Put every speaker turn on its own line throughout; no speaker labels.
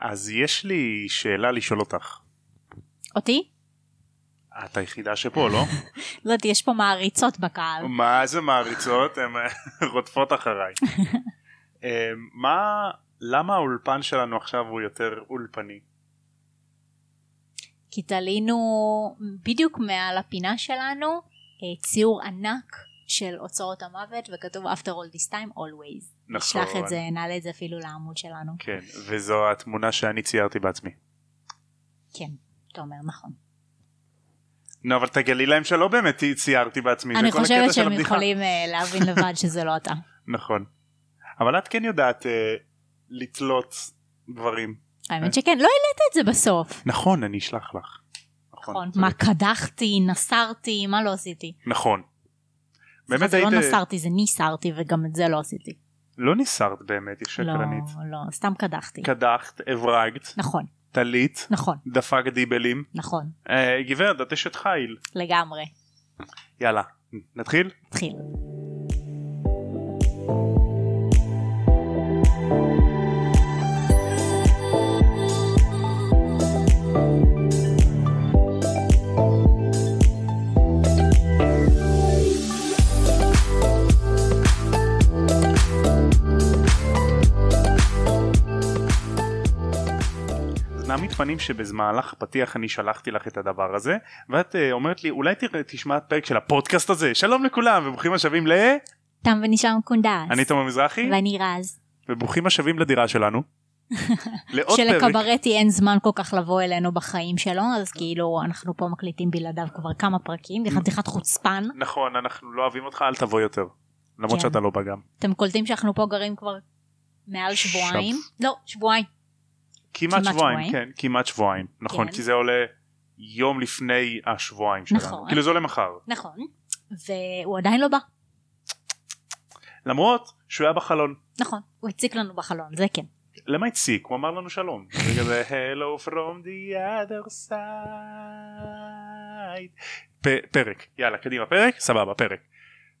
אז יש לי שאלה לשאול אותך.
אותי?
את היחידה שפה, לא?
לא יודעת, יש פה מעריצות בקהל.
מה זה מעריצות? הן רודפות אחריי. אה, מה, למה האולפן שלנו עכשיו הוא יותר אולפני?
כי תלינו בדיוק מעל הפינה שלנו אה, ציור ענק של אוצרות המוות וכתוב after all this time always.
נכון.
נשלח את זה, נעלה את זה אפילו לעמוד שלנו.
כן, וזו התמונה שאני ציירתי בעצמי.
כן, אתה אומר נכון.
נו, אבל תגלי להם שלא באמת ציירתי בעצמי,
אני
זה כל הקטע
חושבת
של
שהם
הבדיחה.
יכולים אה, להבין לבד שזה לא אתה.
נכון. אבל את כן יודעת אה, לתלות דברים.
האמת שכן, לא העלית את זה בסוף.
נכון, אני אשלח לך.
נכון.
צודק.
מה, קדחתי, נסרתי, מה לא עשיתי?
נכון.
סליחה,
באמת
זה
היית...
לא נסרתי, זה ניסרתי וגם את זה לא עשיתי.
לא ניסרת באמת, היא
לא,
שקרנית.
לא, סתם קדחתי.
קדחת, הברגת,
נכון,
טלית,
נכון,
דפק דיבלים.
נכון,
אה, גברת, את אשת חיל.
לגמרי.
יאללה, נתחיל?
התחיל.
אז נעמיד פנים שבמהלך הפתיח אני שלחתי לך את הדבר הזה, ואת אה, אומרת לי, אולי תראה- תשמע את פרק של הפודקאסט הזה. שלום לכולם, וברוכים השבים ל...
תם ונשאר קונדס.
אני תומר מזרחי,
ואני רז.
וברוכים השבים לדירה שלנו. לעוד פרק.
שלקברטי אין זמן כל כך לבוא אלינו בחיים שלו, אז כאילו אנחנו פה מקליטים בלעדיו כבר כמה פרקים, זה חתיכת חוצפן.
נכון, אנחנו לא אוהבים אותך, אל תבוא יותר. למרות
כן.
שאתה לא בא גם.
אתם קולטים שאנחנו פה גרים כבר מעל
שב.
שבועיים? לא, שבועיים.
כמעט
כמעט
שבועיים,
שבועיים.
כן, כמעט שבועיים. נכון,
כן.
כי זה עולה יום לפני השבועיים שלנו.
נכון.
כאילו זה עולה מחר.
נכון. והוא עדיין לא בא.
למרות שהוא היה בחלון.
נכון. הוא הציק לנו בחלון, זה כן.
למה הציק? הוא אמר לנו שלום. זה כזה hello from the other side. פ- פרק, יאללה קדימה פרק, סבבה פרק.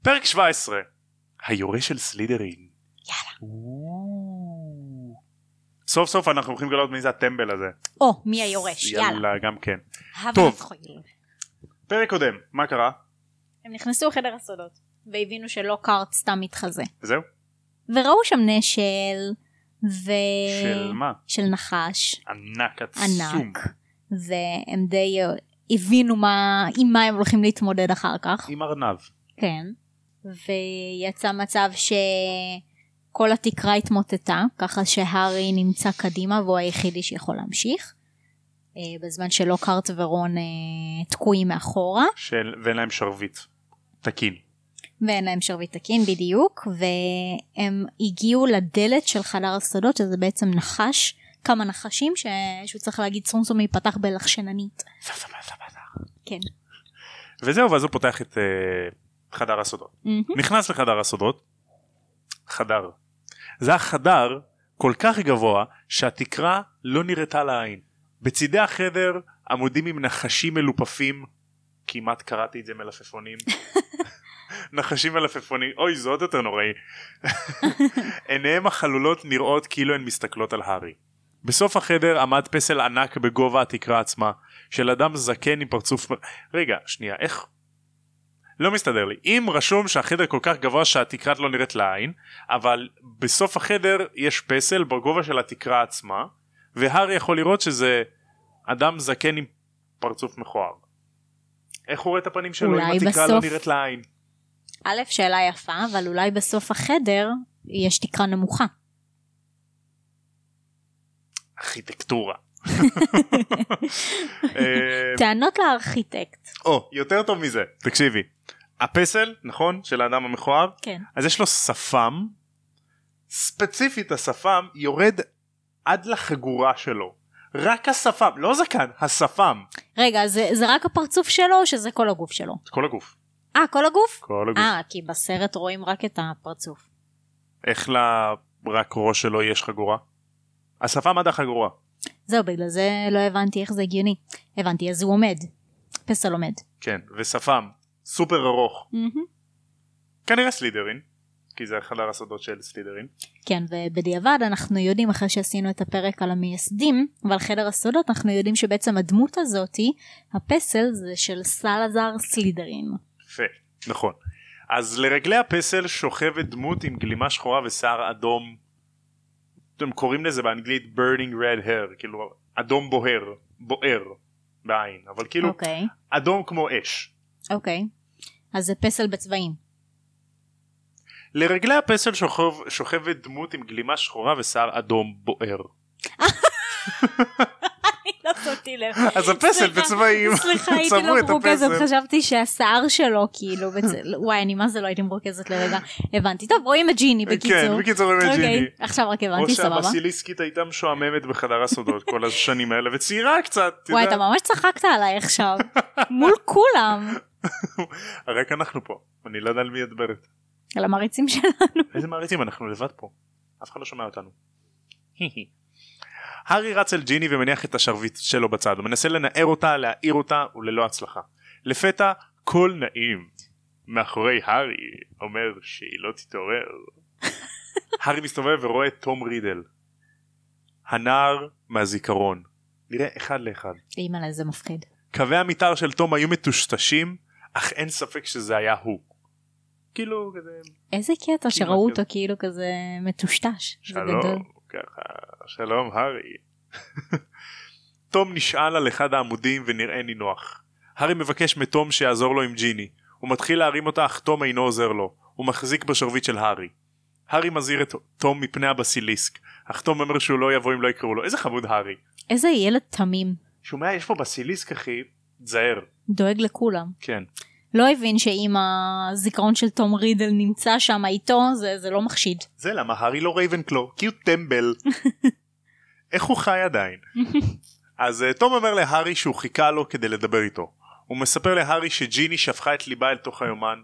פרק 17, היורה של סלידרין.
יאללה.
וואו. סוף סוף אנחנו הולכים לגלות מי זה הטמבל הזה.
או, מי היורש, יאללה.
יאללה גם כן.
הבה
טוב.
נתחיל.
פרק קודם, מה קרה?
הם נכנסו לחדר הסודות, והבינו שלא קארט סתם מתחזה.
זהו?
וראו שם נשל, ו...
של מה?
של נחש.
ענק עצום.
ענק, והם די אה, הבינו מה, עם מה הם הולכים להתמודד אחר כך,
עם ארנב.
כן, ויצא מצב שכל התקרה התמוטטה, ככה שהארי נמצא קדימה והוא היחידי שיכול להמשיך, אה, בזמן שלוקהרט ורון אה, תקועים מאחורה,
של ואין להם שרביט. תקין.
ואין להם שרביט תקין בדיוק, והם הגיעו לדלת של חדר הסודות, שזה בעצם נחש, כמה נחשים, ש... שהוא צריך להגיד סומסום ייפתח בלחשננית, כן.
וזהו ואז הוא פותח את אה, חדר הסודות.
מהמם.
נכנס לחדר הסודות. חדר. זה היה חדר כל כך גבוה שהתקרה לא נראתה לעין. בצידי החדר עמודים עם נחשים מלופפים. כמעט קראתי את זה מלפפונים. נחשים מלפפונים. אוי זה עוד יותר נוראי. עיניהם החלולות נראות כאילו הן מסתכלות על הארי. בסוף החדר עמד פסל ענק בגובה התקרה עצמה של אדם זקן עם פרצוף רגע שנייה איך לא מסתדר לי אם רשום שהחדר כל כך גבוה שהתקרה לא נראית לעין אבל בסוף החדר יש פסל בגובה של התקרה עצמה והארי יכול לראות שזה אדם זקן עם פרצוף מכוער. איך הוא רואה את הפנים שלו אם
אולי
התקרה לא
בסוף-
נראית לעין?
א', שאלה יפה, אבל אולי בסוף החדר יש תקרה נמוכה.
ארכיטקטורה. אה,
טענות לארכיטקט.
או יותר טוב מזה תקשיבי הפסל נכון של האדם המכוער
כן.
אז יש לו שפם ספציפית השפם יורד עד לחגורה שלו רק השפם לא זקן השפם
רגע, זה, זה רק הפרצוף שלו או שזה כל הגוף שלו?
כל הגוף
אה, כל הגוף?
כל הגוף
אה, כי בסרט רואים רק את הפרצוף.
איך ל... רק ראש שלו יש חגורה השפם עד החגורה
זהו, בגלל זה לא הבנתי איך זה הגיוני. הבנתי, אז הוא עומד. פסל עומד.
כן ושפם סופר ארוך
מהמם.
כנראה סלידרין כי זה חדר הסודות של סלידרין.
כן, ובדיעבד אנחנו יודעים, אחרי שעשינו את הפרק על המייסדים ועל חדר הסודות, אנחנו יודעים שבעצם הדמות הזאתי, הפסל, זה של סלאזר סלידרין.
יפה, נכון. אז לרגלי הפסל שוכבת דמות עם גלימה שחורה ושיער אדום. הם קוראים לזה באנגלית burning red hair, כאילו אדום בוהר, בוער בעין, אבל כאילו
אוקיי,
אדום כמו אש.
אוקיי. אז זה פסל בצבעים.
לרגלי הפסל שוכב, שוכבת דמות עם גלימה שחורה ושיער אדום בוער.
אה, אני לא שמתי לב.
אז הפסל
סליחה,
בצבעים,
סליחה, הייתי
צבעו
לא
את
מרוכזת,
הפסל.
חשבתי שהשיער שלו, כאילו, בצ- וואי, אני מה זה לא הייתי מרוכזת לרגע. הבנתי. טוב, רואים את ג'יני, בקיצור.
כן, בקיצור הם
אוקיי,
ג'יני.
עכשיו רק
או
הבנתי, סבבה.
שהבסיליסקית הייתה משועממת בחדר הסודות כל השנים האלה וצעירה קצת, את
וואי,
יודעת.
אתה ממש צחקת עליי עכשיו. מול כולם.
רק אנחנו פה, אני לא יודע על מי את מדברת.
על המריצים שלנו.
איזה מעריצים אנחנו לבד פה, אף אחד לא שומע אותנו. הארי רץ אל ג'יני ומניח את השרביט שלו בצד, הוא מנסה לנער אותה, להעיר אותה וללא הצלחה. לפתע קול נעים מאחורי הארי אומר שהיא לא תתעורר. הארי מסתובב ורואה את תום רידל. הנער מהזיכרון. נראה אחד לאחד.
אימא'לה, זה מפחיד.
קווי המתאר של תום היו מטושטשים, אך אין ספק שזה היה הוא. כאילו כזה
איזה קטע שראו אותו כאילו כזה מטושטש. זה גדול.
שלום, ככה, שלום הארי. תום נשאל על אחד העמודים ונראה נינוח. הארי מבקש מתום שיעזור לו עם ג'יני. הוא מתחיל להרים אותה אך תום אינו עוזר לו. הוא מחזיק בשרביט של הארי. הארי מזהיר את תום מפני הבסיליסק. אך תום אומר שהוא לא יבוא אם לא יקראו לו. איזה חמוד הארי.
איזה ילד תמים.
שומע יש פה בסיליסק אחי, תזהר.
דואג לכולם.
כן.
לא הבין שאם הזיכרון של תום רידל נמצא שם איתו, זה, זה לא מחשיד.
זה למה הארי לא רייבנקלו כי הוא טמבל. איך הוא חי עדיין? אז אה, תום אומר להארי שהוא חיכה לו כדי לדבר איתו. הוא מספר להארי שג'יני שפכה את ליבה אל תוך היומן,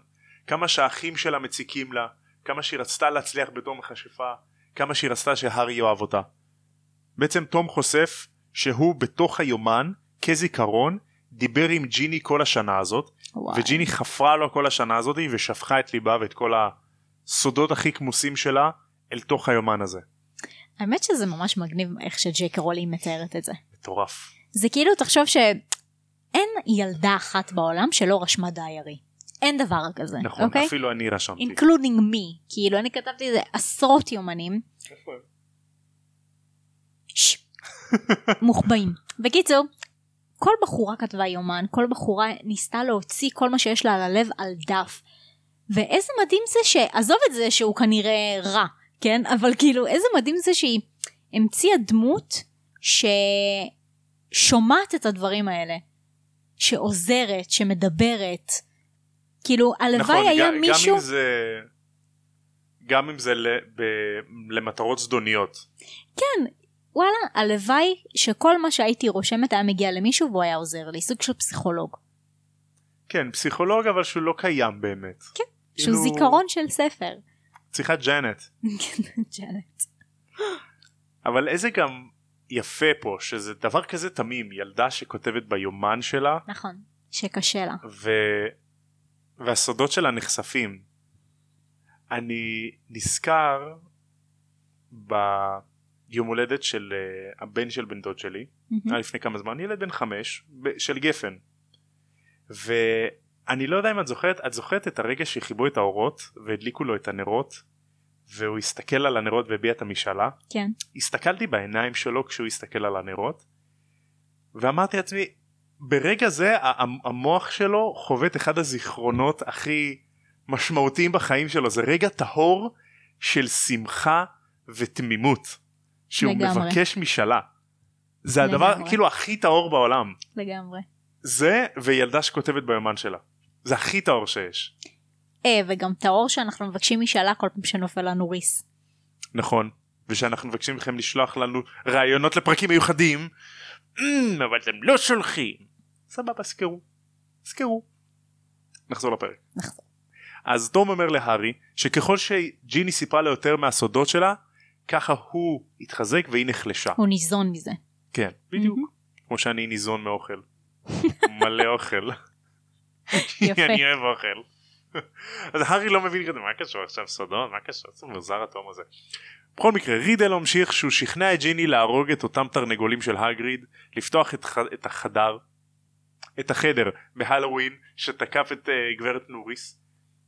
כמה שהאחים שלה מציקים לה, כמה שהיא רצתה להצליח בתום החשיפה, כמה שהיא רצתה שהארי יאהב אותה. בעצם תום חושף שהוא בתוך היומן, כזיכרון, דיבר עם ג'יני כל השנה הזאת,
וואי.
וג'יני חפרה לו כל השנה הזאת ושפכה את ליבה ואת כל הסודות הכי כמוסים שלה אל תוך היומן הזה.
האמת שזה ממש מגניב איך שג'ק רולינג מתארת את זה.
מטורף.
זה כאילו, תחשוב שאין ילדה אחת בעולם שלא רשמה דיירי. אין דבר כזה,
נכון,
אוקיי?
אפילו אני רשמתי.
Including me. כאילו, אני כתבתי איזה עשרות יומנים. ש- מוחבאים. בקיצור, כל בחורה כתבה יומן, כל בחורה ניסתה להוציא כל מה שיש לה על הלב על דף. ואיזה מדהים זה ש... עזוב את זה שהוא כנראה רע, כן? אבל כאילו, איזה מדהים זה שהיא המציאה דמות ששומעת את הדברים האלה, שעוזרת, שמדברת. כאילו, הלוואי
נכון,
היה
ג- גם
מישהו...
אם זה... גם אם זה ל- ב- למטרות זדוניות.
כן, וואלה, הלוואי שכל מה שהייתי רושמת היה מגיע למישהו והוא היה עוזר לי, סוג של פסיכולוג.
כן, פסיכולוג אבל שהוא לא קיים באמת.
כן, שהוא
כאילו,
זיכרון של ספר.
צריכה ג'נט.
ג'נט.
אבל איזה גם יפה פה, שזה דבר כזה תמים, ילדה שכותבת ביומן שלה,
נכון, שקשה לה.
ו... והסודות שלה נחשפים. אני נזכר ביום הולדת של אה, הבן של בן דוד שלי,
מהמם.
היה אה, לפני כמה זמן, ילד בן חמש, ב- של גפן. ואני לא יודע אם את זוכרת, את זוכרת את הרגע שכיבו את האורות והדליקו לו את הנרות, והוא הסתכל על הנרות והביע את המשאלה?
כן.
הסתכלתי בעיניים שלו כשהוא הסתכל על הנרות ואמרתי לעצמי ברגע זה ה- ה- המוח שלו חווה את אחד הזיכרונות הכי משמעותיים בחיים שלו זה רגע טהור של שמחה ותמימות שהוא
לגמרי.
מבקש משאלה זה הדבר
לגמרי.
כאילו הכי טהור בעולם
לגמרי.
זה וילדה שכותבת ביומן שלה זה הכי טהור שיש
אה, וגם את האור שאנחנו מבקשים משאלה כל פעם שנופל לנו ריס.
נכון ושאנחנו מבקשים מכם לשלוח לנו רעיונות לפרקים מיוחדים "אמ, אבל אתם לא שולחים סבבה סקרו סקרו נחזור לפרק
נחזור.
אז תום אומר להארי שככל שג'יני סיפרה לו יותר מהסודות שלה ככה הוא התחזק והיא נחלשה
הוא ניזון מזה.
כן בדיוק כמו שאני ניזון מאוכל מלא אוכל
יפה.
אני אוהב אוכל אז הארי לא מבין כזה מה קשור עכשיו סודות מה קשור איזה מוזר התום הזה. בכל מקרה רידל המשיך שהוא שכנע את ג'יני להרוג את אותם תרנגולים של הגריד לפתוח את, ח... את החדר את החדר בהלואוין שתקף את uh, גברת נוריס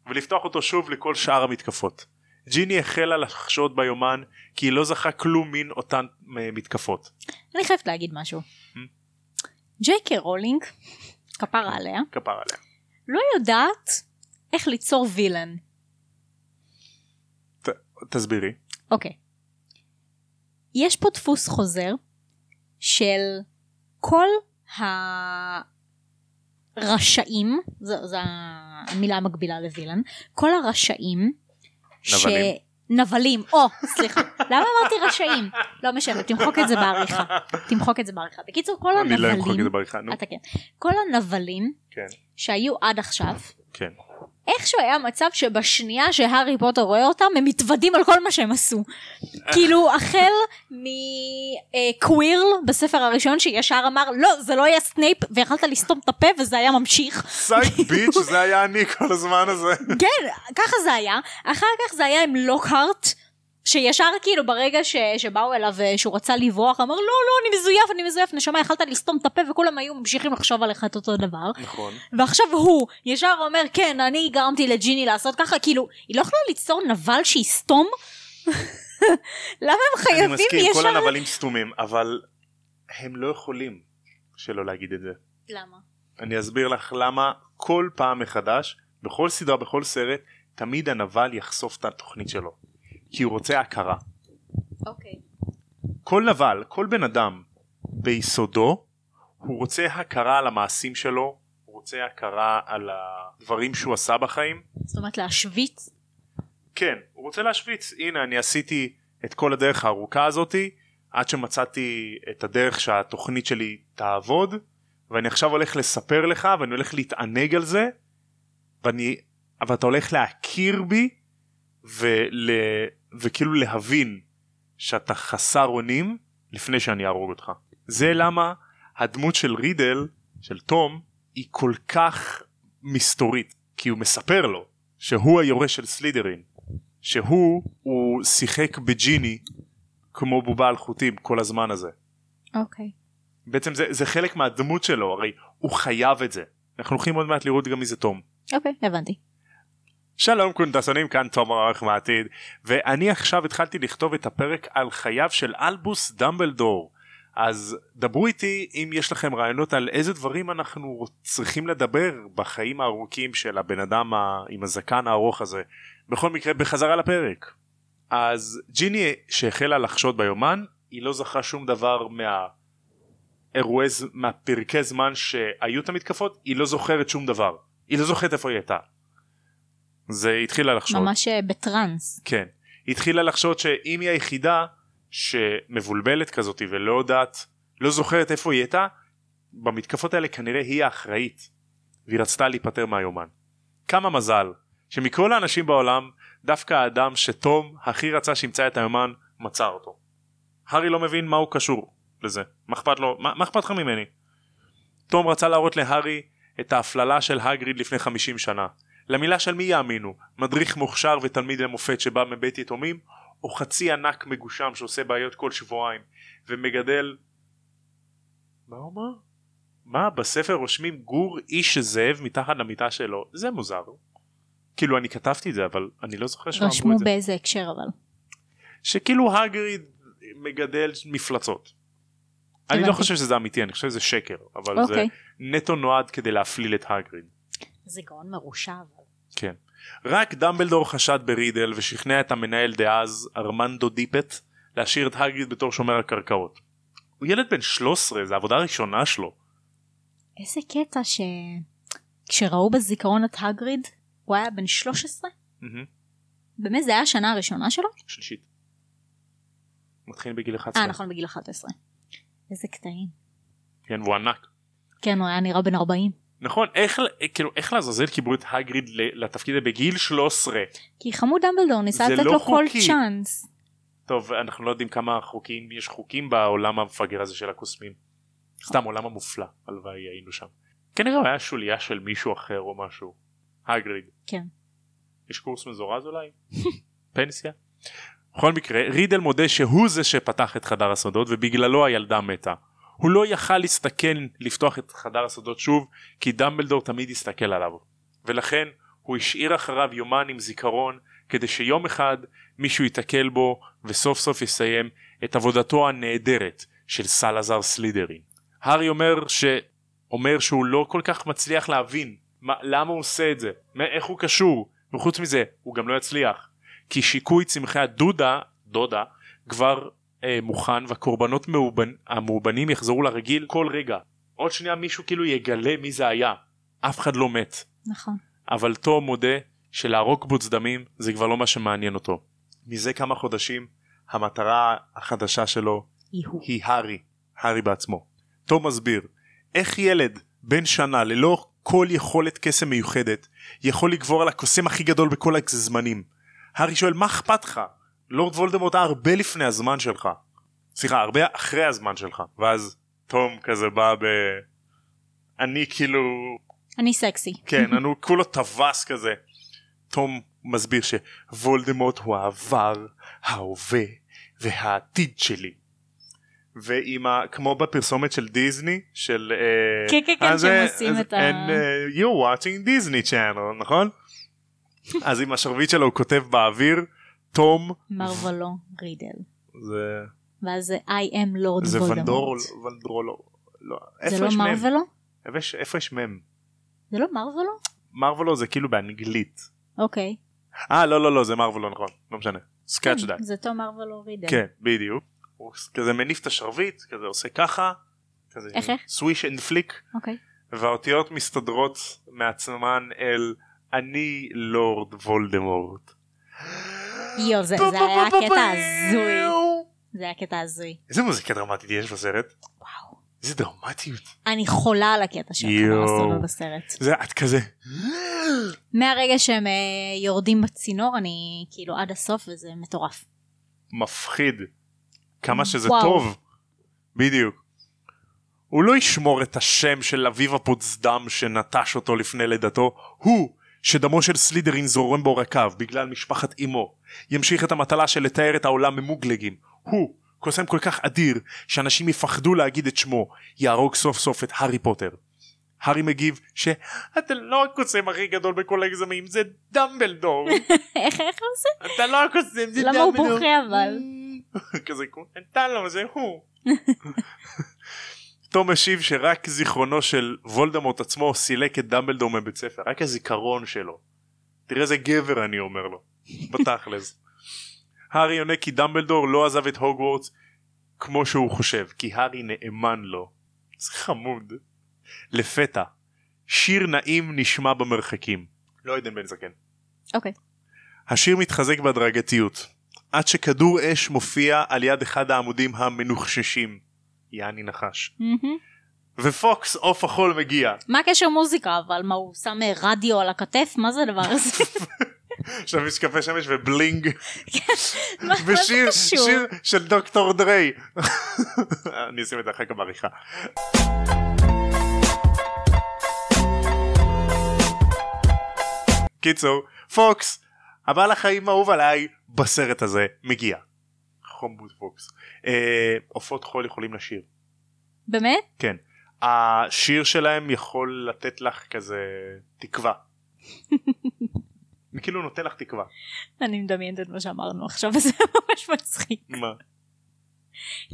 ולפתוח אותו שוב לכל שאר המתקפות. ג'יני החלה לחשוד ביומן כי היא לא זכה כלום מן אותן uh, מתקפות.
אני חייבת להגיד משהו. ג'יי קיי רולינג, כפרה עליה,
כפר עליה.
לא יודעת איך ליצור וילן.
תסבירי.
אוקיי. יש פה דפוס חוזר של כל הרשעים, זו, זו המילה המקבילה לווילן, כל הרשעים, ש-
נבלים.
נבלים, או, סליחה, למה אמרתי רשעים? לא משנה, תמחוק את זה בעריכה, תמחוק את זה בעריכה. בקיצור, כל
אני לא אמחוק את
הנבלים,
זה בעריכה נו.
אתה כן, כל הנבלים
כן.
שהיו עד עכשיו,
כן.
איכשהו היה מצב שבשנייה שהארי פוטר רואה אותם הם מתוודים על כל מה שהם עשו. כאילו החל מקווירל בספר הראשון שישר אמר לא זה לא היה סנייפ ויכלת לסתום את הפה וזה היה ממשיך.
סייק ביץ' זה היה אני כל הזמן הזה.
כן ככה זה היה אחר כך זה היה עם לוקהארט שישר כאילו ברגע ש... שבאו אליו אה, שהוא רצה לברוח אמר לא לא אני מזויף אני מזויף נשמה יכלת לסתום את הפה וכולם היו ממשיכים לחשוב עליך את אותו דבר.
נכון.
ועכשיו הוא ישר אומר כן אני גרמתי לג'יני לעשות ככה כאילו היא לא יכולה ליצור נבל שיסתום? למה הם
אני
חייבים
מסכים כל
ישר?
הנבלים סתומים אבל הם לא יכולים שלא להגיד את זה.
למה?
אני אסביר לך למה כל פעם מחדש בכל סדרה בכל סרט תמיד הנבל יחשוף את התוכנית שלו. כי הוא רוצה הכרה.
אוקיי.
כל נבל כל בן אדם ביסודו הוא רוצה הכרה על המעשים שלו הוא רוצה הכרה על הדברים שהוא עשה בחיים
זאת אומרת להשוויץ?
כן הוא רוצה להשוויץ הנה אני עשיתי את כל הדרך הארוכה הזאתי עד שמצאתי את הדרך שהתוכנית שלי תעבוד ואני עכשיו הולך לספר לך ואני הולך להתענג על זה ואני אבל אתה הולך להכיר בי ול, וכאילו להבין שאתה חסר אונים לפני שאני אהרוג אותך זה למה הדמות של רידל של תום היא כל כך מסתורית כי הוא מספר לו שהוא היורש של סלידרין שהוא הוא שיחק בג'יני כמו בובה על חוטים כל הזמן הזה
אוקיי.
בעצם זה, זה חלק מהדמות שלו הרי הוא חייב את זה אנחנו הולכים עוד מעט לראות גם מי זה תום
אוקיי הבנתי.
שלום קונדסונים כאן תומר עורך מהעתיד ואני עכשיו התחלתי לכתוב את הפרק על חייו של אלבוס דמבלדור אז דברו איתי אם יש לכם רעיונות על איזה דברים אנחנו צריכים לדבר בחיים הארוכים של הבן אדם ה... עם הזקן הארוך הזה בכל מקרה בחזרה לפרק אז ג'יני שהחלה לחשוד ביומן היא לא זכה שום דבר מה... אירועי, ז- מהפרקי זמן שהיו את המתקפות היא לא זוכרת שום דבר היא לא זוכרת איפה היא הייתה זה התחילה לחשוד
ממש אה, בטראנס.
כן. היא התחילה לחשוד שאם היא היחידה שמבולבלת כזאת ולא יודעת, לא זוכרת איפה היא הייתה, במתקפות האלה כנראה היא האחראית, והיא רצתה להיפטר מהיומן. כמה מזל שמכל האנשים בעולם, דווקא האדם שתום הכי רצה שימצא את היומן, מצא אותו. הארי לא מבין מה הוא קשור לזה, מה אכפת לו, מה, מה אכפת לך ממני? תום רצה להראות להארי את ההפללה של הגריד לפני 50 שנה. למילה של מי יאמינו, מדריך מוכשר ותלמיד למופת שבא מבית יתומים, או חצי ענק מגושם שעושה בעיות כל שבועיים, ומגדל... מה הוא אמר? מה, בספר רושמים גור איש זאב מתחת למיטה שלו, זה מוזר. כאילו אני כתבתי את זה אבל אני לא זוכר שאמרו את זה.
רשמו באיזה הקשר אבל.
שכאילו הגריד מגדל מפלצות. אני לא
הבנתי.
חושב שזה אמיתי אני חושב שזה שקר אבל זה
אוקיי.
נטו נועד כדי להפליל את הגריד.
זה גאון מרושע אבל.
כן. רק דמבלדור חשד ברידל ושכנע את המנהל דאז ארמנדו דיפט להשאיר את הגריד בתור שומר הקרקעות. הוא ילד בן 13 זה העבודה הראשונה שלו.
איזה קטע ש... כשראו בזיכרון את הגריד הוא היה בן 13?
מהמם.
באמת זה היה השנה הראשונה שלו?
שלישית. מתחיל בגיל 11.
אה נכון בגיל 11. איזה קטעים.
כן והוא ענק.
כן הוא היה נראה בן 40.
נכון איך כאילו איך לעזאזל קיבלו את הגריד ל- לתפקיד הזה בגיל 13.
כי חמוד דמבלדור ניסה
זה
לתת
לא
לו כל
חוקי.
צ'אנס.
טוב אנחנו לא יודעים כמה חוקים יש חוקים בעולם המפגר הזה של הקוסמים. סתם עולם המופלא הלוואי היינו שם. כנראה הוא היה שוליה של מישהו אחר או משהו. הגריד.
כן.
יש קורס מזורז אולי? פנסיה? בכל מקרה, רידל מודה שהוא זה שפתח את חדר הסודות ובגללו הילדה מתה. הוא לא יכל להסתכן לפתוח את חדר הסודות שוב, כי דמבלדור תמיד הסתכל עליו. ולכן הוא השאיר אחריו יומן עם זיכרון, כדי שיום אחד מישהו ייתקל בו וסוף סוף יסיים את עבודתו הנהדרת של סלאזר סלידרין. הארי אומר ש... אומר שהוא לא כל כך מצליח להבין מה, למה הוא עושה את זה, מה- איך הוא קשור, וחוץ מזה הוא גם לא יצליח. כי שיקוי צמחי הדודה, דודה, כבר אה, מוכן והקורבנות מאובנ... המאובנים יחזרו לרגיל כל רגע. עוד שנייה מישהו כאילו יגלה מי זה היה. אף אחד לא מת.
נכון.
אבל תום מודה שלהרוג בוץ דמים זה כבר לא מה שמעניין אותו. מזה כמה חודשים המטרה החדשה שלו
יהוא.
היא הארי, הארי בעצמו. תום מסביר, איך ילד בן שנה ללא כל יכולת קסם מיוחדת יכול לגבור על הקוסם הכי גדול בכל הזמנים? הארי שואל מה אכפת לך? לורד וולדמורט היה הרבה לפני הזמן שלך. סליחה, הרבה אחרי הזמן שלך. ואז תום כזה בא ב... אני כאילו
אני סקסי.
כן, אני כולו טווס כזה. תום מסביר שוולדמורט הוא העבר, ההווה והעתיד שלי. ועם ה... כמו בפרסומת של דיסני, של... אה,
כן, כן, כן,
אז,
שהם
אה,
עושים
אז-
את ה-
And uh, you're watching Disney Channel, נכון? אז עם השרביט שלו הוא כותב באוויר, תום,
מרוולו רידל.
זה...
ואז זה I am Lord
זה ונדור,
וולדמורט.
ונדרולו. לא,
זה
איפה
לא
יש מם?
מרוולו?
איפה יש- איפה יש מם?
זה לא מרוולו?
מרוולו זה כאילו באנגלית.
אוקיי.
אה לא לא לא זה מרוויל לא נכון לא משנה סקאץ' דאק
זה תום מרוולו רידל.
כן בדיוק הוא כזה מניף את השרביט כזה עושה ככה כזה
איך, איך?
סוויש אנד פליק
אוקיי.
והאותיות מסתדרות מעצמן אל אני לורד וולדמורט.
יואו, זה זה היה קטע הזוי. זה היה קטע הזוי.
איזה מוזיקה דרמטית יש בסרט
וואו.
איזה דרמטיות
אני חולה על הקטע של
יואו.
חדר הסודות בסרט.
זה את כזה
מהרגע שהם אה, יורדים בצינור אני כאילו עד הסוף וזה מטורף.
מפחיד כמה שזה
וואו.
טוב בדיוק. הוא לא ישמור את השם של אביו הפוצדם שנטש אותו לפני לידתו הוא שדמו של סלידרין זורם בעורקיו בגלל משפחת אמו ימשיך את המטלה של לתאר את העולם ממוגלגים הוא קוסם כל כך אדיר שאנשים יפחדו להגיד את שמו יהרוג סוף סוף את הארי פוטר. הארי מגיב שאתה לא הקוסם הכי גדול בכל הגזמים זה דמבלדור
איך איך הוא עושה?
אתה לא הקוסם זה
למה הוא
דמבלדור."
בוכה אבל?
כזה כמו אתה לא זה הוא. תום משיב שרק זיכרונו של וולדמורט עצמו סילק את דמבלדור מבית ספר רק הזיכרון שלו. תראה איזה גבר אני אומר לו בתכלס. הארי עונה כי דמבלדור לא עזב את הוגוורטס כמו שהוא חושב כי הארי נאמן לו. זה חמוד. לפתע שיר נעים נשמע במרחקים. לא עדן בן זקן.
אוקיי.
השיר מתחזק בהדרגתיות, עד שכדור אש מופיע על יד אחד העמודים המנוחששים, יעני נחש.
מהמם.
ופוקס עוף החול מגיע.
מה הקשר מוזיקה אבל? מה הוא שם אה, רדיו על הכתף? מה זה הדבר הזה?
יש לו משקפי שמש ובלינג,
כן, מה מה זה
ושיר
קשור?
שיר של דוקטור דריי. אני אשים את זה אחר כך בעריכה. קיצור, פוקס, הבעל החיים האהוב עליי בסרט הזה, מגיע. חומבוד פוקס. אה, עופות חול יכולים לשיר.
באמת?
כן. השיר שלהם יכול לתת לך כזה תקווה. אני כאילו נותן לך תקווה.
אני מדמיינת את מה שאמרנו עכשיו וזה ממש מצחיק.
מה?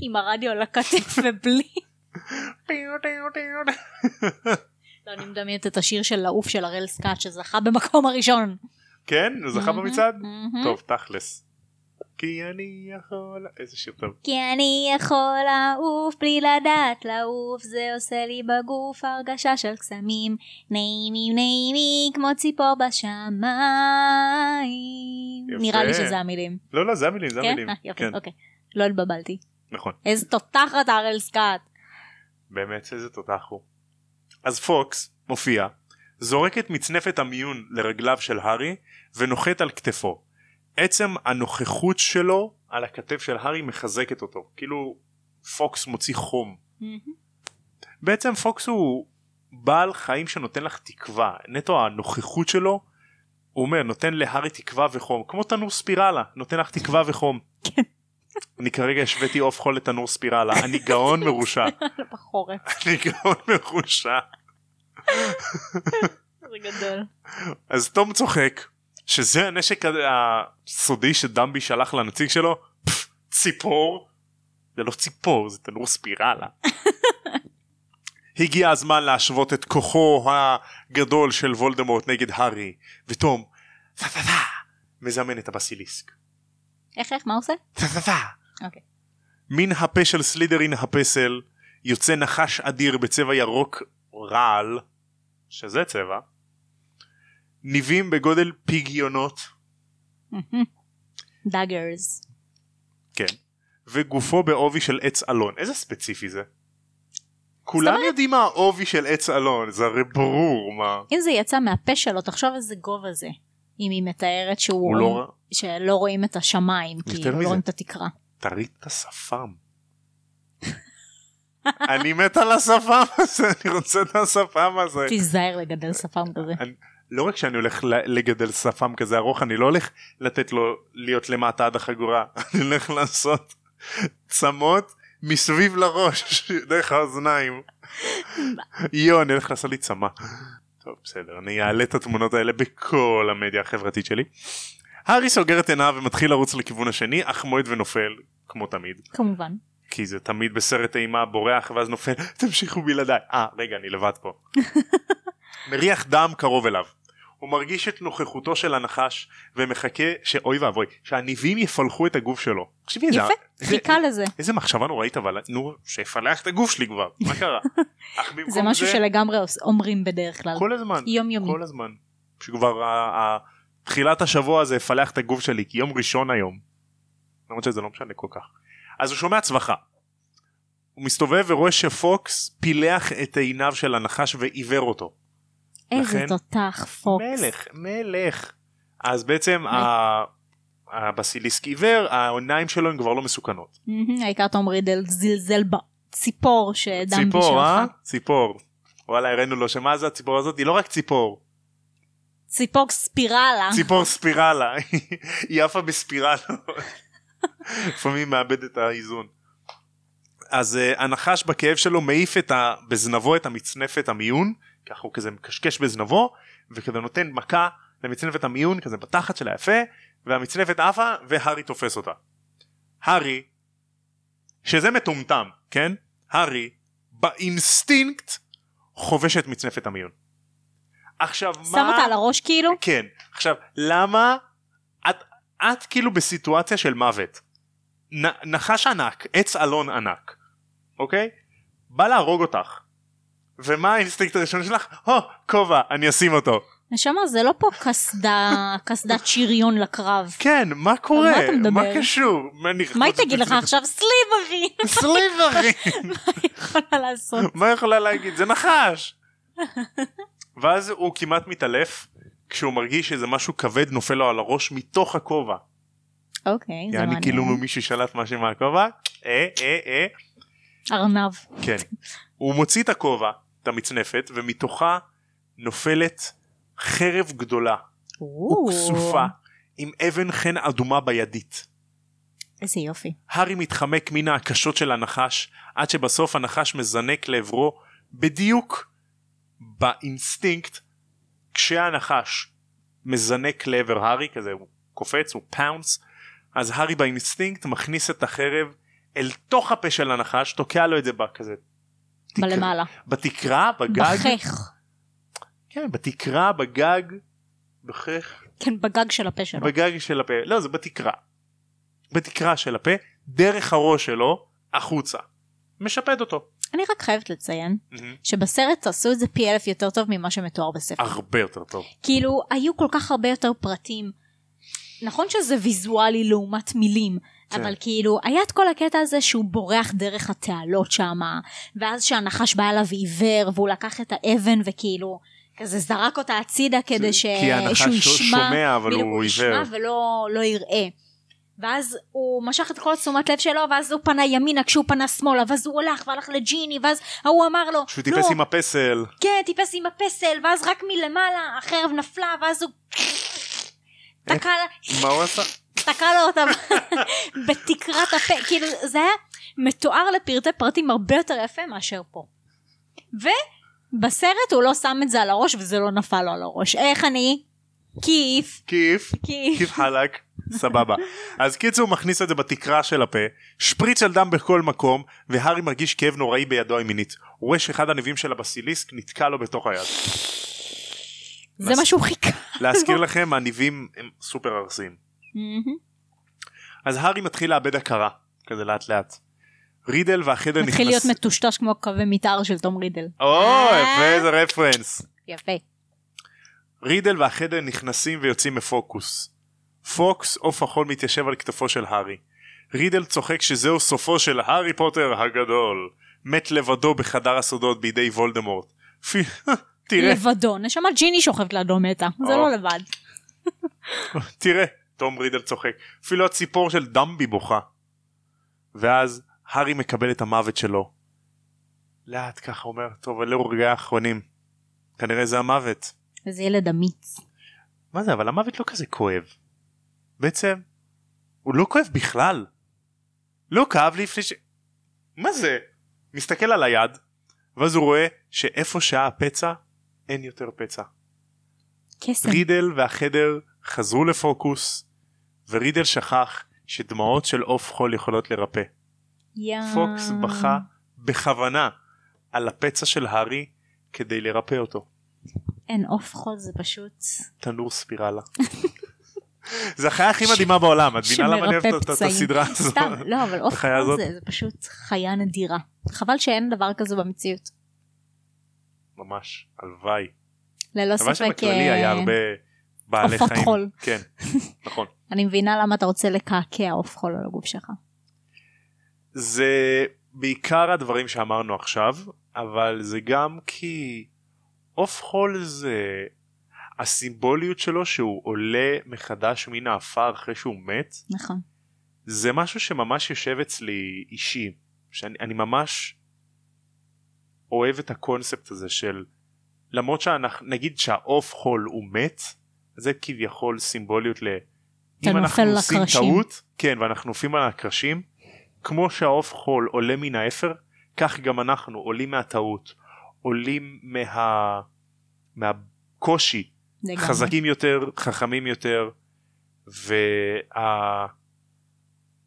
עם הרדיו על הכתף ובלי. לא, אני מדמיינת את השיר של לעוף של הראל סקאט שזכה במקום הראשון.
כן? הוא זכה
מהמם,
במצעד?
מהמם.
טוב, תכלס. כי אני יכול... איזה שיר טוב.
כי אני יכול לעוף בלי לדעת לעוף זה עושה לי בגוף הרגשה של קסמים נעימים נעימים כמו ציפור בשמיים.
יפה.
נראה לי שזה המילים.
לא, לא, זה המילים, זה
כן?
המילים.
אה, יופי,
כן,
אוקיי. לא התבלבלתי.
נכון.
איזה תותחת הראל סקאט.
באמת איזה תותח הוא. אז פוקס מופיע, זורק את מצנפת המיון לרגליו של הארי ונוחת על כתפו. עצם הנוכחות שלו על הכתף של הארי מחזקת אותו, כאילו פוקס מוציא חום. בעצם פוקס הוא בעל חיים שנותן לך תקווה נטו הנוכחות שלו הוא אומר נותן להארי תקווה וחום כמו תנור ספירלה נותן לך תקווה וחום. אני כרגע השוויתי עוף חול לתנור ספירלה אני גאון מרושע
בחורף.
אני גאון מרושע
זה גדול.
אז תום צוחק שזה הנשק ה- הסודי שדמבי שלח לנציג שלו פפ, ציפור זה לא ציפור זה תנור ספירלה. הגיע הזמן להשוות את כוחו הגדול של וולדמורט נגד הארי ותום "טה, טה, טה", מזמן את הבסיליסק.
איך איך מה הוא עושה?
"טה, טה, טה".
אוקיי.
מן הפה של סלידרין הפסל יוצא נחש אדיר בצבע ירוק רעל, שזה צבע, ניבים בגודל פיגיונות,
דאגרס.
כן, וגופו בעובי של עץ אלון. איזה ספציפי זה? כולם יודעים מה העובי של עץ אלון, זה הרי ברור מה.
אם זה יצא מהפה שלו תחשוב איזה גובה זה. אם היא מתארת שהוא
הוא לא... ראה.
שלא רואים את השמיים
יותר
כאילו לא
מזה.
רואים את התקרה.
תריד את השפם. אני מת על השפם הזה, אני רוצה את השפם הזה.
תיזהר לגדל שפם כזה.
לא רק שאני הולך ל- לגדל שפם כזה ארוך אני לא הולך לתת לו להיות למטה עד החגורה אני הולך לעשות צמות מסביב לראש דרך האוזניים. יו אני הולך לעשות לי צמה. טוב בסדר אני אעלה את התמונות האלה בכל המדיה החברתית שלי. הארי סוגר את עיניו ומתחיל לרוץ לכיוון השני אך מועד ונופל כמו תמיד
כמובן.
כי זה תמיד בסרט אימה בורח ואז נופל תמשיכו בלעדיי אה רגע אני לבד פה מריח דם קרוב אליו הוא מרגיש את נוכחותו של הנחש ומחכה שאוי ואבוי שהניבים יפלחו את הגוף שלו. תחשבי איזה-
יפה
איזה-
חיכה לזה.
איזה מחשבה נוראית אבל נו שיפלח את הגוף שלי כבר מה קרה. אך במקום
זה משהו שלגמרי עוש- אומרים בדרך כלל.
כל הזמן
יום יומי.
כל הזמן שכבר ה- ה- תחילת השבוע הזה יפלח את הגוף שלי כי יום ראשון היום. למרות שזה לא משנה כל כך. אז הוא שומע צווחה. הוא מסתובב ורואה שפוקס פילח את עיניו של הנחש ועיוור אותו.
איזה
לכן-
תותח פוקס.
מלך מלך. אז בעצם ה- הבסיליסק עיוור העיניים שלו הן כבר לא מסוכנות.
מהמם, העיקר תום רידל זלזל בציפור שדם
ציפור אה?
בשלך.
ציפור. וואלה הראינו לו שמה זה הציפור הזאת היא לא רק ציפור.
ציפור ספירלה.
ציפור ספירלה, היא עפה בספירלה, לפעמים מאבד את האיזון. אז uh, הנחש בכאב שלו מעיף את ה, בזנבו את המצנפת המיון, ככה הוא כזה מקשקש בזנבו, וכזה נותן מכה למצנפת המיון, כזה בתחת שלה יפה, והמצנפת עפה, והארי תופס אותה. הארי, שזה מטומטם, כן? הארי, באינסטינקט, חובש את מצנפת המיון. עכשיו מה...
שם אותה על הראש כאילו?
כן. עכשיו, למה את, את כאילו בסיטואציה של מוות. נ, נחש ענק, עץ אלון ענק, אוקיי? בא להרוג אותך. ומה האינסטינקט הראשון שלך? הו, כובע, אני אשים אותו.
נשמה זה לא פה קסדה, קסדת שריון לקרב.
כן, מה קורה?
מה אתה מדבר?
מה קשור? אני
מה היא
רוצה-
תגיד לך עכשיו? סליברי!
סליברי!
מה היא יכולה לעשות?
מה יכולה להגיד? זה נחש! ואז הוא כמעט מתעלף, כשהוא מרגיש שזה משהו כבד נופל לו על הראש מתוך הכובע.
אוקיי, זה
יעני כאילו
מעניין.
מישהו שלט משהו מהכובע, אה אה אה,
ארנב.
כן. הוא מוציא את הכובע, את המצנפת, ומתוכה נופלת חרב גדולה, וכסופה, עם אבן חן אדומה בידית.
איזה יופי.
הארי מתחמק מן ההקשות של הנחש, עד שבסוף הנחש מזנק לעברו בדיוק באינסטינקט, כשהנחש מזנק לעבר הארי, כזה הוא קופץ, הוא פאונס, אז הארי באינסטינקט מכניס את החרב אל תוך הפה של הנחש, תוקע לו את זה בכזה. תקרה-
בלמעלה.
בתקרה, בגג,
בחך.
כן, בתקרה, בגג, בחך,
כן, בגג של הפה שלו.
בגג של הפה, לא זה בתקרה, בתקרה של הפה, דרך הראש שלו, החוצה, משפד אותו.
אני רק חייבת לציין שבסרט עשו את זה פי אלף יותר טוב ממה שמתואר בספר.
הרבה יותר טוב.
כאילו היו כל כך הרבה יותר פרטים. נכון שזה ויזואלי לעומת מילים,
כן.
אבל כאילו היה את כל הקטע הזה שהוא בורח דרך התעלות שמה, ואז שהנחש בא אליו עיוור והוא לקח את האבן וכאילו כזה זרק אותה הצידה כדי ש...
כי הנחש
שהוא
לא
ישמע,
שומע, אבל
בדיוק,
הוא
ישמע
עיוור.
ולא לא יראה. ואז הוא משך את כל התשומת לב שלו ואז הוא פנה ימינה כשהוא פנה שמאלה ואז הוא הולך והלך לג'יני ואז ההוא אמר לו "לא,
שהוא טיפס עם הפסל
כן טיפס עם הפסל ואז רק מלמעלה החרב נפלה ואז הוא תקע לה-
מה הוא עשה?
תקע לו אותה בתקרת הפה כאילו זה היה מתואר לפרטי פרטים הרבה יותר יפה מאשר פה ובסרט הוא לא שם את זה על הראש וזה לא נפל לו על הראש איך אני כיף
כיף
כיף
כיף חלק סבבה אז קיצור הוא מכניס את זה בתקרה של הפה שפריץ של דם בכל מקום והארי מרגיש כאב נוראי בידו הימינית הוא רואה שאחד הניבים של הבסיליסק נתקע לו בתוך היד
זה מה שהוא חיכה לא.
להזכיר לכם הניבים הם סופר ארסיים
מהמם.
אז הארי מתחיל לאבד הכרה כזה לאט לאט רידל והחדר נכנס...
מתחיל להיות מטושטש כמו קווי מתאר של תום רידל.
או
אה.
יפה זה רפרנס
יפה.
רידל והחדר נכנסים ויוצאים מפוקוס. פוקס עוף החול מתיישב על כתפו של הארי. רידל צוחק שזהו סופו של הארי פוטר הגדול. מת לבדו בחדר הסודות בידי וולדמורט. פי... תראה,
לבדו. נשמה ג'יני שוכבת לידו מתה. זה
או.
לא לבד.
תראה. תום רידל צוחק. אפילו הציפור של דמבי בוכה. ואז הארי מקבל את המוות שלו. לאט ככה אומר, טוב, אלו רגעי האחרונים. כנראה זה המוות.
איזה ילד אמיץ.
מה זה אבל המוות לא כזה כואב. בעצם הוא לא כואב בכלל. לא כאב לי לפני ש... מה זה? מסתכל על היד ואז הוא רואה שאיפה שהיה הפצע אין יותר פצע.
קסם.
רידל והחדר חזרו לפוקוס ורידל שכח שדמעות של עוף חול יכולות לרפא.
יא.
פוקס בכה בכוונה על הפצע של הארי כדי לרפא אותו.
אין עוף חול זה פשוט.
תנור ספירלה. זה החיה הכי מדהימה בעולם, את מבינה למה אני אוהב
שמרפא
את- את- את
פצעים.
הסדרה הזאת?
סתם. לא אבל עוף
החיה
חול
הזאת.
זה זה פשוט חיה נדירה. חבל שאין דבר כזה במציאות.
ממש, הלוואי.
ללא
הלוואי
לא ספק.
שבכללי
אה,
היה הרבה בעלי
עופות
חיים.
חול.
כן, נכון.
אני מבינה למה אתה רוצה לקעקע עוף חול על הגוף שלך.
זה בעיקר הדברים שאמרנו עכשיו, אבל זה גם כי עוף חול זה הסימבוליות שלו שהוא עולה מחדש מן העפר אחרי שהוא מת,
נכון.
זה משהו שממש יושב אצלי אישי שאני אני ממש אוהב את הקונספט הזה של למרות שאנחנו נגיד שהעוף חול הוא מת זה כביכול סימבוליות ל...
אתה
אם אנחנו
נופל
עושים
לקרשים.
טעות כן ואנחנו נופלים על הקרשים כמו שהעוף חול עולה מן האפר כך גם אנחנו עולים מהטעות עולים מה... מהקושי
לגמרי.
חזקים יותר חכמים יותר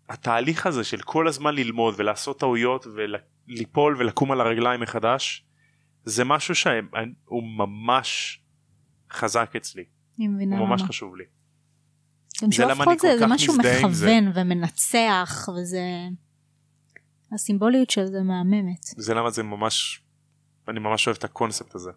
והתהליך הזה של כל הזמן ללמוד ולעשות טעויות וליפול ולקום על הרגליים מחדש זה משהו שהוא ממש חזק אצלי
אני מבינה
הוא ממש
למה.
חשוב לי
גם
זה
שעוף
למה
חול
אני כל
זה, זה
כך
משהו
מזדהה עם זה.
מכוון ומנצח וזה הסימבוליות של זה מהממת
זה למה זה ממש אני ממש אוהב את הקונספט הזה.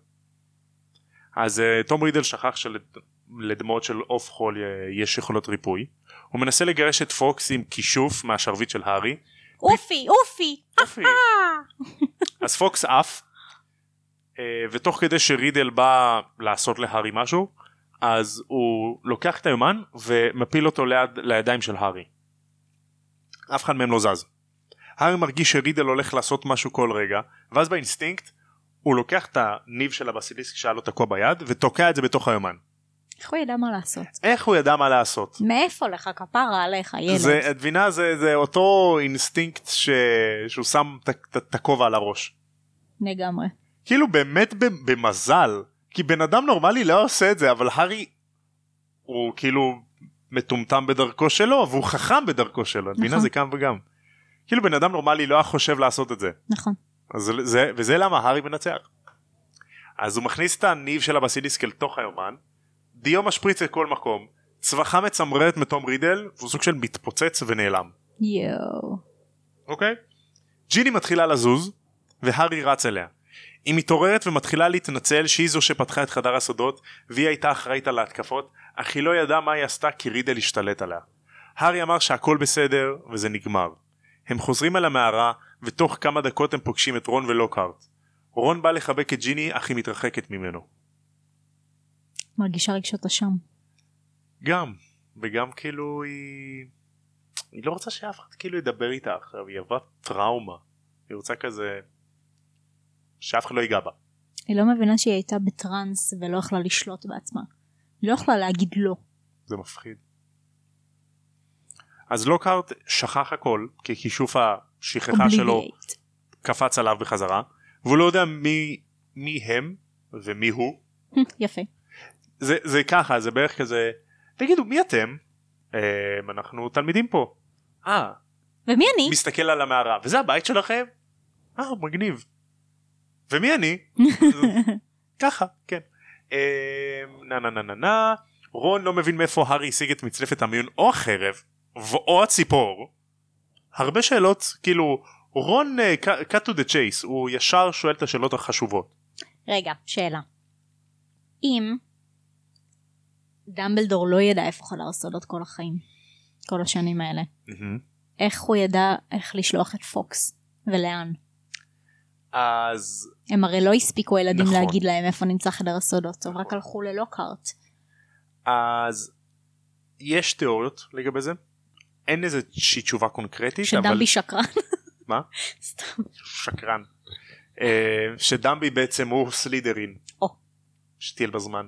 אז אה, תום רידל שכח שלדמעות של עוף חול אה, יש יכולות ריפוי הוא מנסה לגרש את פוקס עם כישוף מהשרביט של הארי
אופי אופי אה!
יופי. אז פוקס עף אה, ותוך כדי שרידל בא לעשות להארי משהו אז הוא לוקח את היומן ומפיל אותו ליד, לידיים של הארי. אף אחד מהם לא זז. הארי מרגיש שרידל הולך לעשות משהו כל רגע ואז באינסטינקט הוא לוקח את הניב של הבסיליסק שהיה לו תקוע ביד ותוקע את זה בתוך היומן.
איך הוא ידע מה לעשות
איך הוא ידע מה לעשות?
מאיפה לך כפרה עליך ילד
זה, את מבינה זה, זה אותו אינסטינקט ש... שהוא שם את- את את הכובע על הראש.
לגמרי
כאילו באמת ב- במזל כי בן אדם נורמלי לא עושה את זה אבל הארי הוא כאילו מטומטם בדרכו שלו והוא חכם בדרכו שלו את מבינה
נכון.
זה גם וגם. כאילו בן אדם נורמלי לא היה חושב לעשות את זה
נכון
אז זה- זה וזה למה הארי מנצח. אז הוא מכניס את הניב של הבסיליסק אל תוך היומן דיו משפריץ לכל מקום צווחה מצמררת מתום רידל והוא סוג של מתפוצץ ונעלם.
יואו
אוקיי? ג'יני מתחילה לזוז, והארי רץ אליה. היא מתעוררת ומתחילה להתנצל שהיא זו שפתחה את חדר הסודות, והיא הייתה אחראית על ההתקפות, אך היא לא ידעה מה היא עשתה כי רידל השתלט עליה. הארי אמר שהכל בסדר, וזה נגמר. הם חוזרים אל המערה, ותוך כמה דקות הם פוגשים את רון ולוקהארט. רון בא לחבק את ג'יני, אך היא מתרחקת ממנו.
מרגישה רגשות אשם
גם, וגם כאילו היא... היא לא רוצה שאף אחד כאילו ידבר איתה עכשיו, היא עברה טראומה. היא רוצה כזה... שאף אחד לא ייגע בה.
היא לא מבינה שהיא הייתה בטראנס ולא יכלה לשלוט בעצמה. היא לא יכלה להגיד לא.
זה מפחיד. אז לוקהארט שכח הכל, כי כישוף השכחה שלו
Obliviate.
קפץ עליו בחזרה, והוא לא יודע מי, מי הם ומי הוא.
יפה.
זה, זה ככה, זה בערך כזה, תגידו מי אתם? "אמ, אנחנו תלמידים פה. אה,
ומי אני?
מסתכל על המערה, וזה הבית שלכם? אה, מגניב. ומי אני? ככה, כן. אמ, נה נה נה נה נה, רון לא מבין מאיפה הארי השיג את מצלפת המיון או החרב, ו- או הציפור. הרבה שאלות, כאילו, רון אה, cut cut to the chase, הוא ישר שואל את השאלות החשובות.
רגע, שאלה. אם דמבלדור לא ידע איפה חדר הסודות כל החיים, כל השנים האלה, איך הוא ידע איך לשלוח את פוקס ולאן?
אז
הם הרי לא הספיקו הילדים
נכון.
להגיד להם איפה נמצא חדר הסודות, הם רק הלכו ללוקארט.
אז יש תיאוריות לגבי זה אין איזושהי תשובה קונקרטית אבל
שדמבי שקרן.
מה?
סתם.
שקרן אה, שדמבי בעצם הוא סלידרין
או.
שתהיה בזמן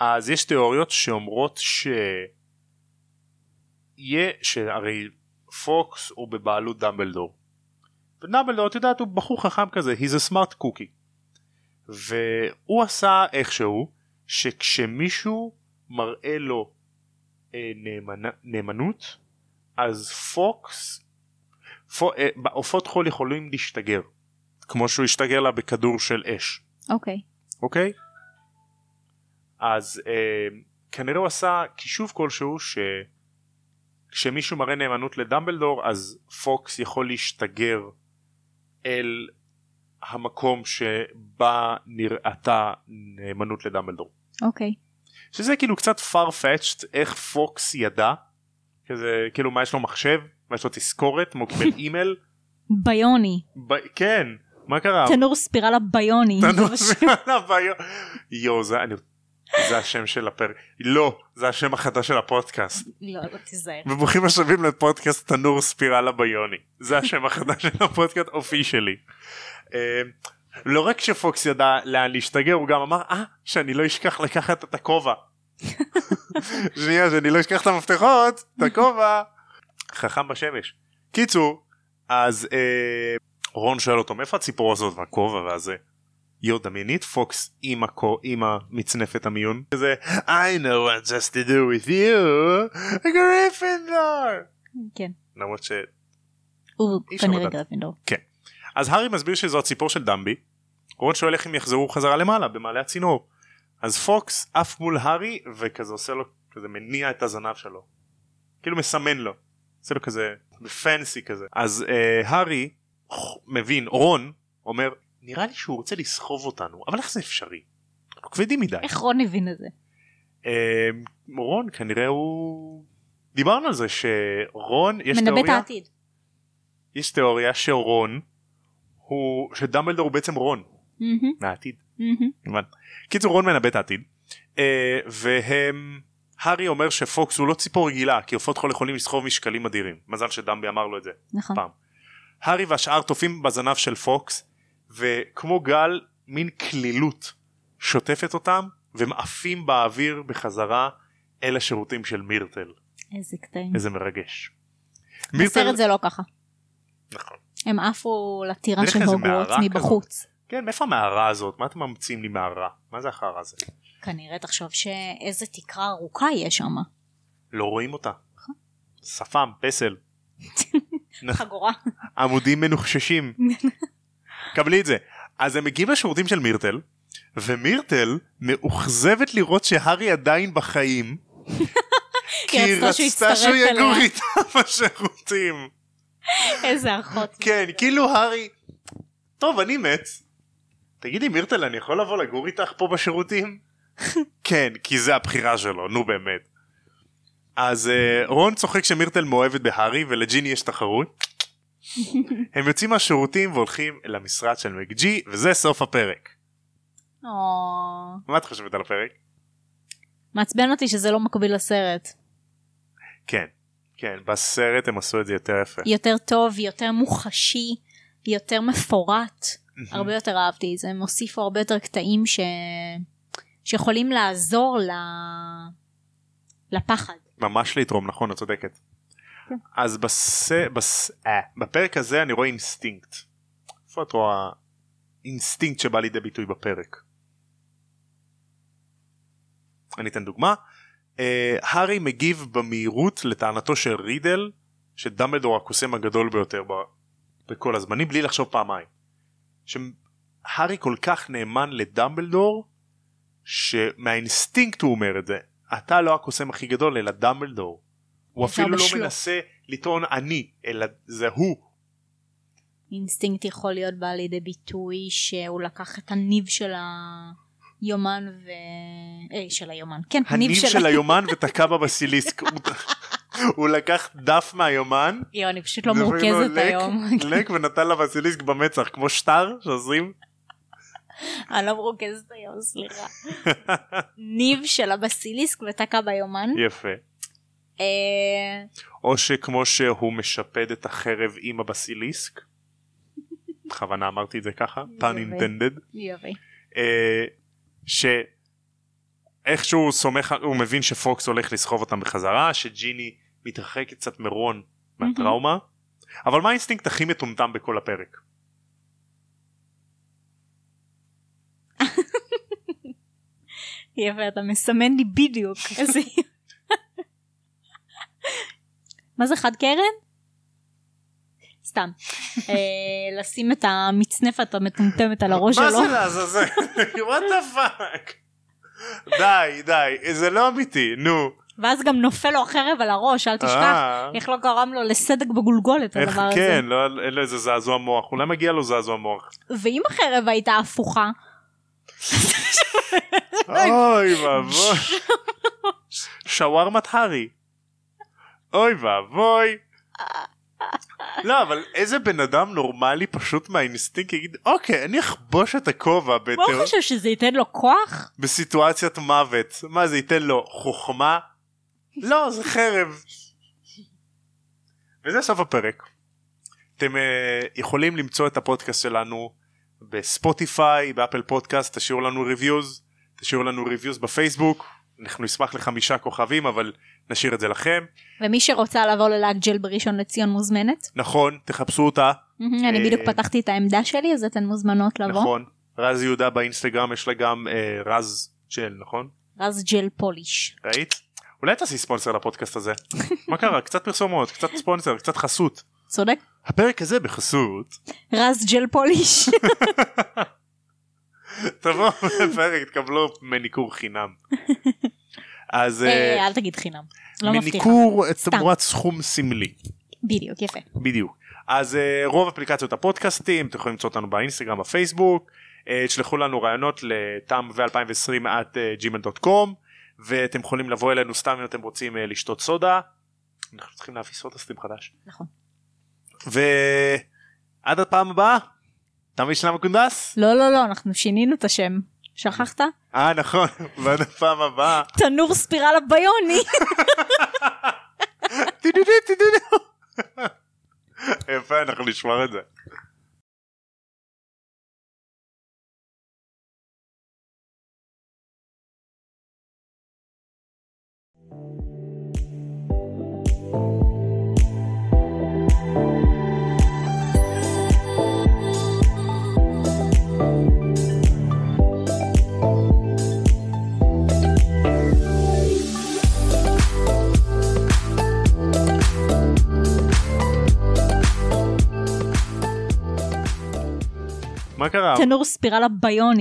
אז יש תיאוריות שאומרות ש... יהיה שהרי פוקס הוא בבעלות דמבלדור ודמבלדור את יודעת הוא בחור חכם כזה he's a smart cookie והוא עשה איכשהו שכשמישהו מראה לו אה, נאמנה, נאמנות אז פוקס פו, אה, עופות חול יכולים להשתגר כמו שהוא השתגר לה בכדור של אש
אוקיי.
אוקיי? אז אה, כנראה הוא עשה כישוב כלשהו ש... כשמישהו מראה נאמנות לדמבלדור אז פוקס יכול להשתגר אל המקום שבה נראתה נאמנות לדמבלדור.
אוקיי.
שזה כאילו קצת farfetched איך פוקס ידע, כזה, כאילו מה יש לו מחשב, מה יש לו תזכורת, מה הוא קיבל אימייל,
ביוני.
ב- כן, מה קרה?
תנור ספירלה ביוני.
תנור ספירלה ביום. יואו זה אני... זה השם של הפרק לא זה השם החדש של הפודקאסט
לא, לא תיזהר.
וברוכים השבים לפודקאסט תנור ספירלה ביוני זה השם החדש של הפודקאסט אופישלי. אה, לא רק שפוקס ידע לאן להשתגר הוא גם אמר אה שאני לא אשכח לקחת את הכובע. שנייה שאני לא אשכח את המפתחות את הכובע. חכם בשמש. קיצור אז אה, רון שואל אותו מאיפה הציפור הזאת והכובע והזה. יו דמייני את פוקס עם, הקו, עם המצנפת המיון כזה I know what just to do with you גריפינדור
כן.
למרות ש...
הוא
אי אפשר
כנראה
לדעת.
גרפינדור.
אז הארי מסביר שזו הציפור של דמבי רון שואל איך הם יחזרו חזרה למעלה במעלה הצינור אז פוקס עף מול הארי וכזה עושה לו כזה מניע את הזנב שלו כאילו מסמן לו עושה לו כזה פנסי כזה אז אה, הארי ח- מבין רון אומר נראה לי שהוא רוצה לסחוב אותנו אבל איך זה אפשרי? אנחנו כבדים מדי.
איך רון הבין את זה?
אה, רון כנראה הוא דיברנו על זה שרון יש
מנבא את
תיאוריה
העתיד.
יש תיאוריה שרון הוא שדמבלדור הוא בעצם רון
מהמם,
מהעתיד
מהמם.
כמובן. קיצור רון מנבא את העתיד אה, והם הארי אומר שפוקס הוא לא ציפור רגילה כי עופות חול יכולים לסחוב משקלים אדירים מזל שדמבי אמר לו את זה
נכון.
פעם. הארי והשאר תופים בזנב של פוקס וכמו גל מין קלילות שוטפת אותם והם עפים באוויר בחזרה אל השירותים של מירטל
איזה קטעים.
איזה מרגש.
בסרט זה לא ככה.
נכון.
הם עפו לטירה
בדרך
של
כלל זה
הוגוורטס
מערה
מבחוץ.
כן מאיפה המערה הזאת מה אתם ממציאים לי מערה מה זה החרא הזה
כנראה תחשוב שאיזה תקרה ארוכה יש שם.
לא רואים אותה. שפם פסל
חגורה.
עמודים מנוחששים. קבלי את זה. אז הם מגיעים לשירותים של מירטל, ומירטל מאוכזבת לראות שהארי עדיין בחיים, כי היא רצתה שהוא יגור איתה בשירותים.
איזה אחות.
כן, כאילו הארי, טוב אני מת. תגידי מירטל אני יכול לבוא לגור איתך פה בשירותים? כן, כי זה הבחירה שלו, נו באמת. אז אה, רון צוחק שמירטל מאוהבת בהארי ולג'יני יש תחרות. הם יוצאים מהשירותים והולכים למשרד של מקג'י וזה סוף הפרק.
או,
מה את חושבת על הפרק?
מעצבן אותי שזה לא מקביל לסרט.
כן. כן, בסרט הם עשו את זה יותר יפה.
יותר טוב, יותר מוחשי, יותר מפורט. הרבה יותר אהבתי את זה, הם הוסיפו הרבה יותר קטעים ש... שיכולים לעזור ל... לפחד.
ממש לתרום נכון את צודקת. אז בס... בס... אה, בפרק הזה אני רואה אינסטינקט. איפה את רואה אינסטינקט שבא לידי ביטוי בפרק? אני אתן דוגמה. אה, הארי מגיב במהירות לטענתו של רידל שדמבלדור הקוסם הגדול ביותר ב... בכל הזמנים בלי לחשוב פעמיים. שהארי כל כך נאמן לדמבלדור שמהאינסטינקט הוא אומר את זה אתה לא הקוסם הכי גדול אלא דמבלדור. הוא
בעיקר
אפילו לא
בשלוף.
מנסה לטעון אני אלא זה הוא.
אינסטינקט יכול להיות בא לידי ביטוי שהוא לקח את הניב של היומן ו... אה, של היומן, כן,
הניב של היומן ותקע בבסיליסק. הוא- הוא לקח דף מהיומן.
יואו, אני פשוט לא
דפק לו
מורכזת
לק-
היום.
לק ונתן לבסיליסק במצח כמו שטר שעושים.
אני לא מרוכזת היום, סליחה. ניב של הבסיליסק ותקע ביומן.
יפה.
אה,
או שכמו שהוא משפד את החרב עם הבסיליסק. בכוונה אמרתי את זה ככה. pun intended.
יופי.
אה, ש... איכשהו הוא סומך, הוא מבין שפוקס הולך לסחוב אותם בחזרה, שג'יני מתרחקת קצת מרון מהטראומה. אבל מה האינסטינקט הכי מטומטם בכל הפרק?
יפה, אתה מסמן לי בדיוק. איזה- מה זה חד קרן? סתם. אה, לשים את המצנפת המטומטמת על הראש
מה
שלו.
זה לעזאזל? וואט דה פאק. די די זה לא אמיתי נו.
ואז גם נופל לו החרב על הראש, אל תשכח.
אה,
איך לא גרם לו לסדק בגולגולת
איך
הדבר הזה.
כן לא אין לו איזה זעזוע מוח אולי מגיע לו זעזוע מוח.
ואם החרב הייתה הפוכה,
אוי ואבוי. שווארמת הארי. אוי ואבוי. לא אבל איזה בן אדם נורמלי פשוט מהאינסטינקט יגיד אוקיי אני אחבוש את הכובע
מה
בתיאור-
הוא חושב שזה ייתן לו כוח?
בסיטואציית מוות מה זה ייתן לו חוכמה? לא זה חרב. וזה סוף הפרק. אתם uh, יכולים למצוא את הפודקאסט שלנו בספוטיפיי באפל פודקאסט תשאירו לנו ריוויוז תשאירו לנו ריוויוז בפייסבוק אנחנו נשמח לחמישה כוכבים אבל נשאיר את זה לכם
ומי שרוצה לבוא ללאגג'ל בראשון לציון מוזמנת.
נכון תחפשו אותה
מהמם, אני
אה,
בדיוק פתחתי את העמדה שלי אז אתן מוזמנות לבוא.
נכון רז יהודה באינסטגרם יש לה גם אה, רז ג'ל נכון
רז ג'ל פוליש.
ראית? אולי תעשי ספונסר לפודקאסט הזה. מה קרה? קצת פרסומות, קצת ספונסר, קצת חסות.
צודק?
הפרק הזה בחסות.
רז ג'ל פוליש.
תבואו לפרק, תקבלו מניקור חינם. אז אה,
אה, אל תגיד חינם. לא מבטיחה.
מניקור אה,
סתם.
תמורת סכום סמלי.
בדיוק, יפה.
בדיוק. אז אה, רוב אפליקציות הפודקאסטים, אתם יכולים למצוא אותנו באינסטגרם, בפייסבוק. אה, תשלחו לנו רעיונות לתם ו-2020 at gmail.com ואתם יכולים לבוא אלינו סתם אם אתם רוצים אה, לשתות סודה. אנחנו צריכים להביא סודה סטים חדש.
נכון.
ועד הפעם הבאה, תמי שלמה קונדס?
לא, לא, לא, אנחנו שינינו את השם. שכחת?
אה נכון, ועד הפעם הבאה.
תנור ספירלה ביוני.
טו-דו-דו, טו-דו-דו. יפה, אנחנו נשמר את זה. מה קרה?
תנור ספירלה ביוני.
תנור ספירלה ביום.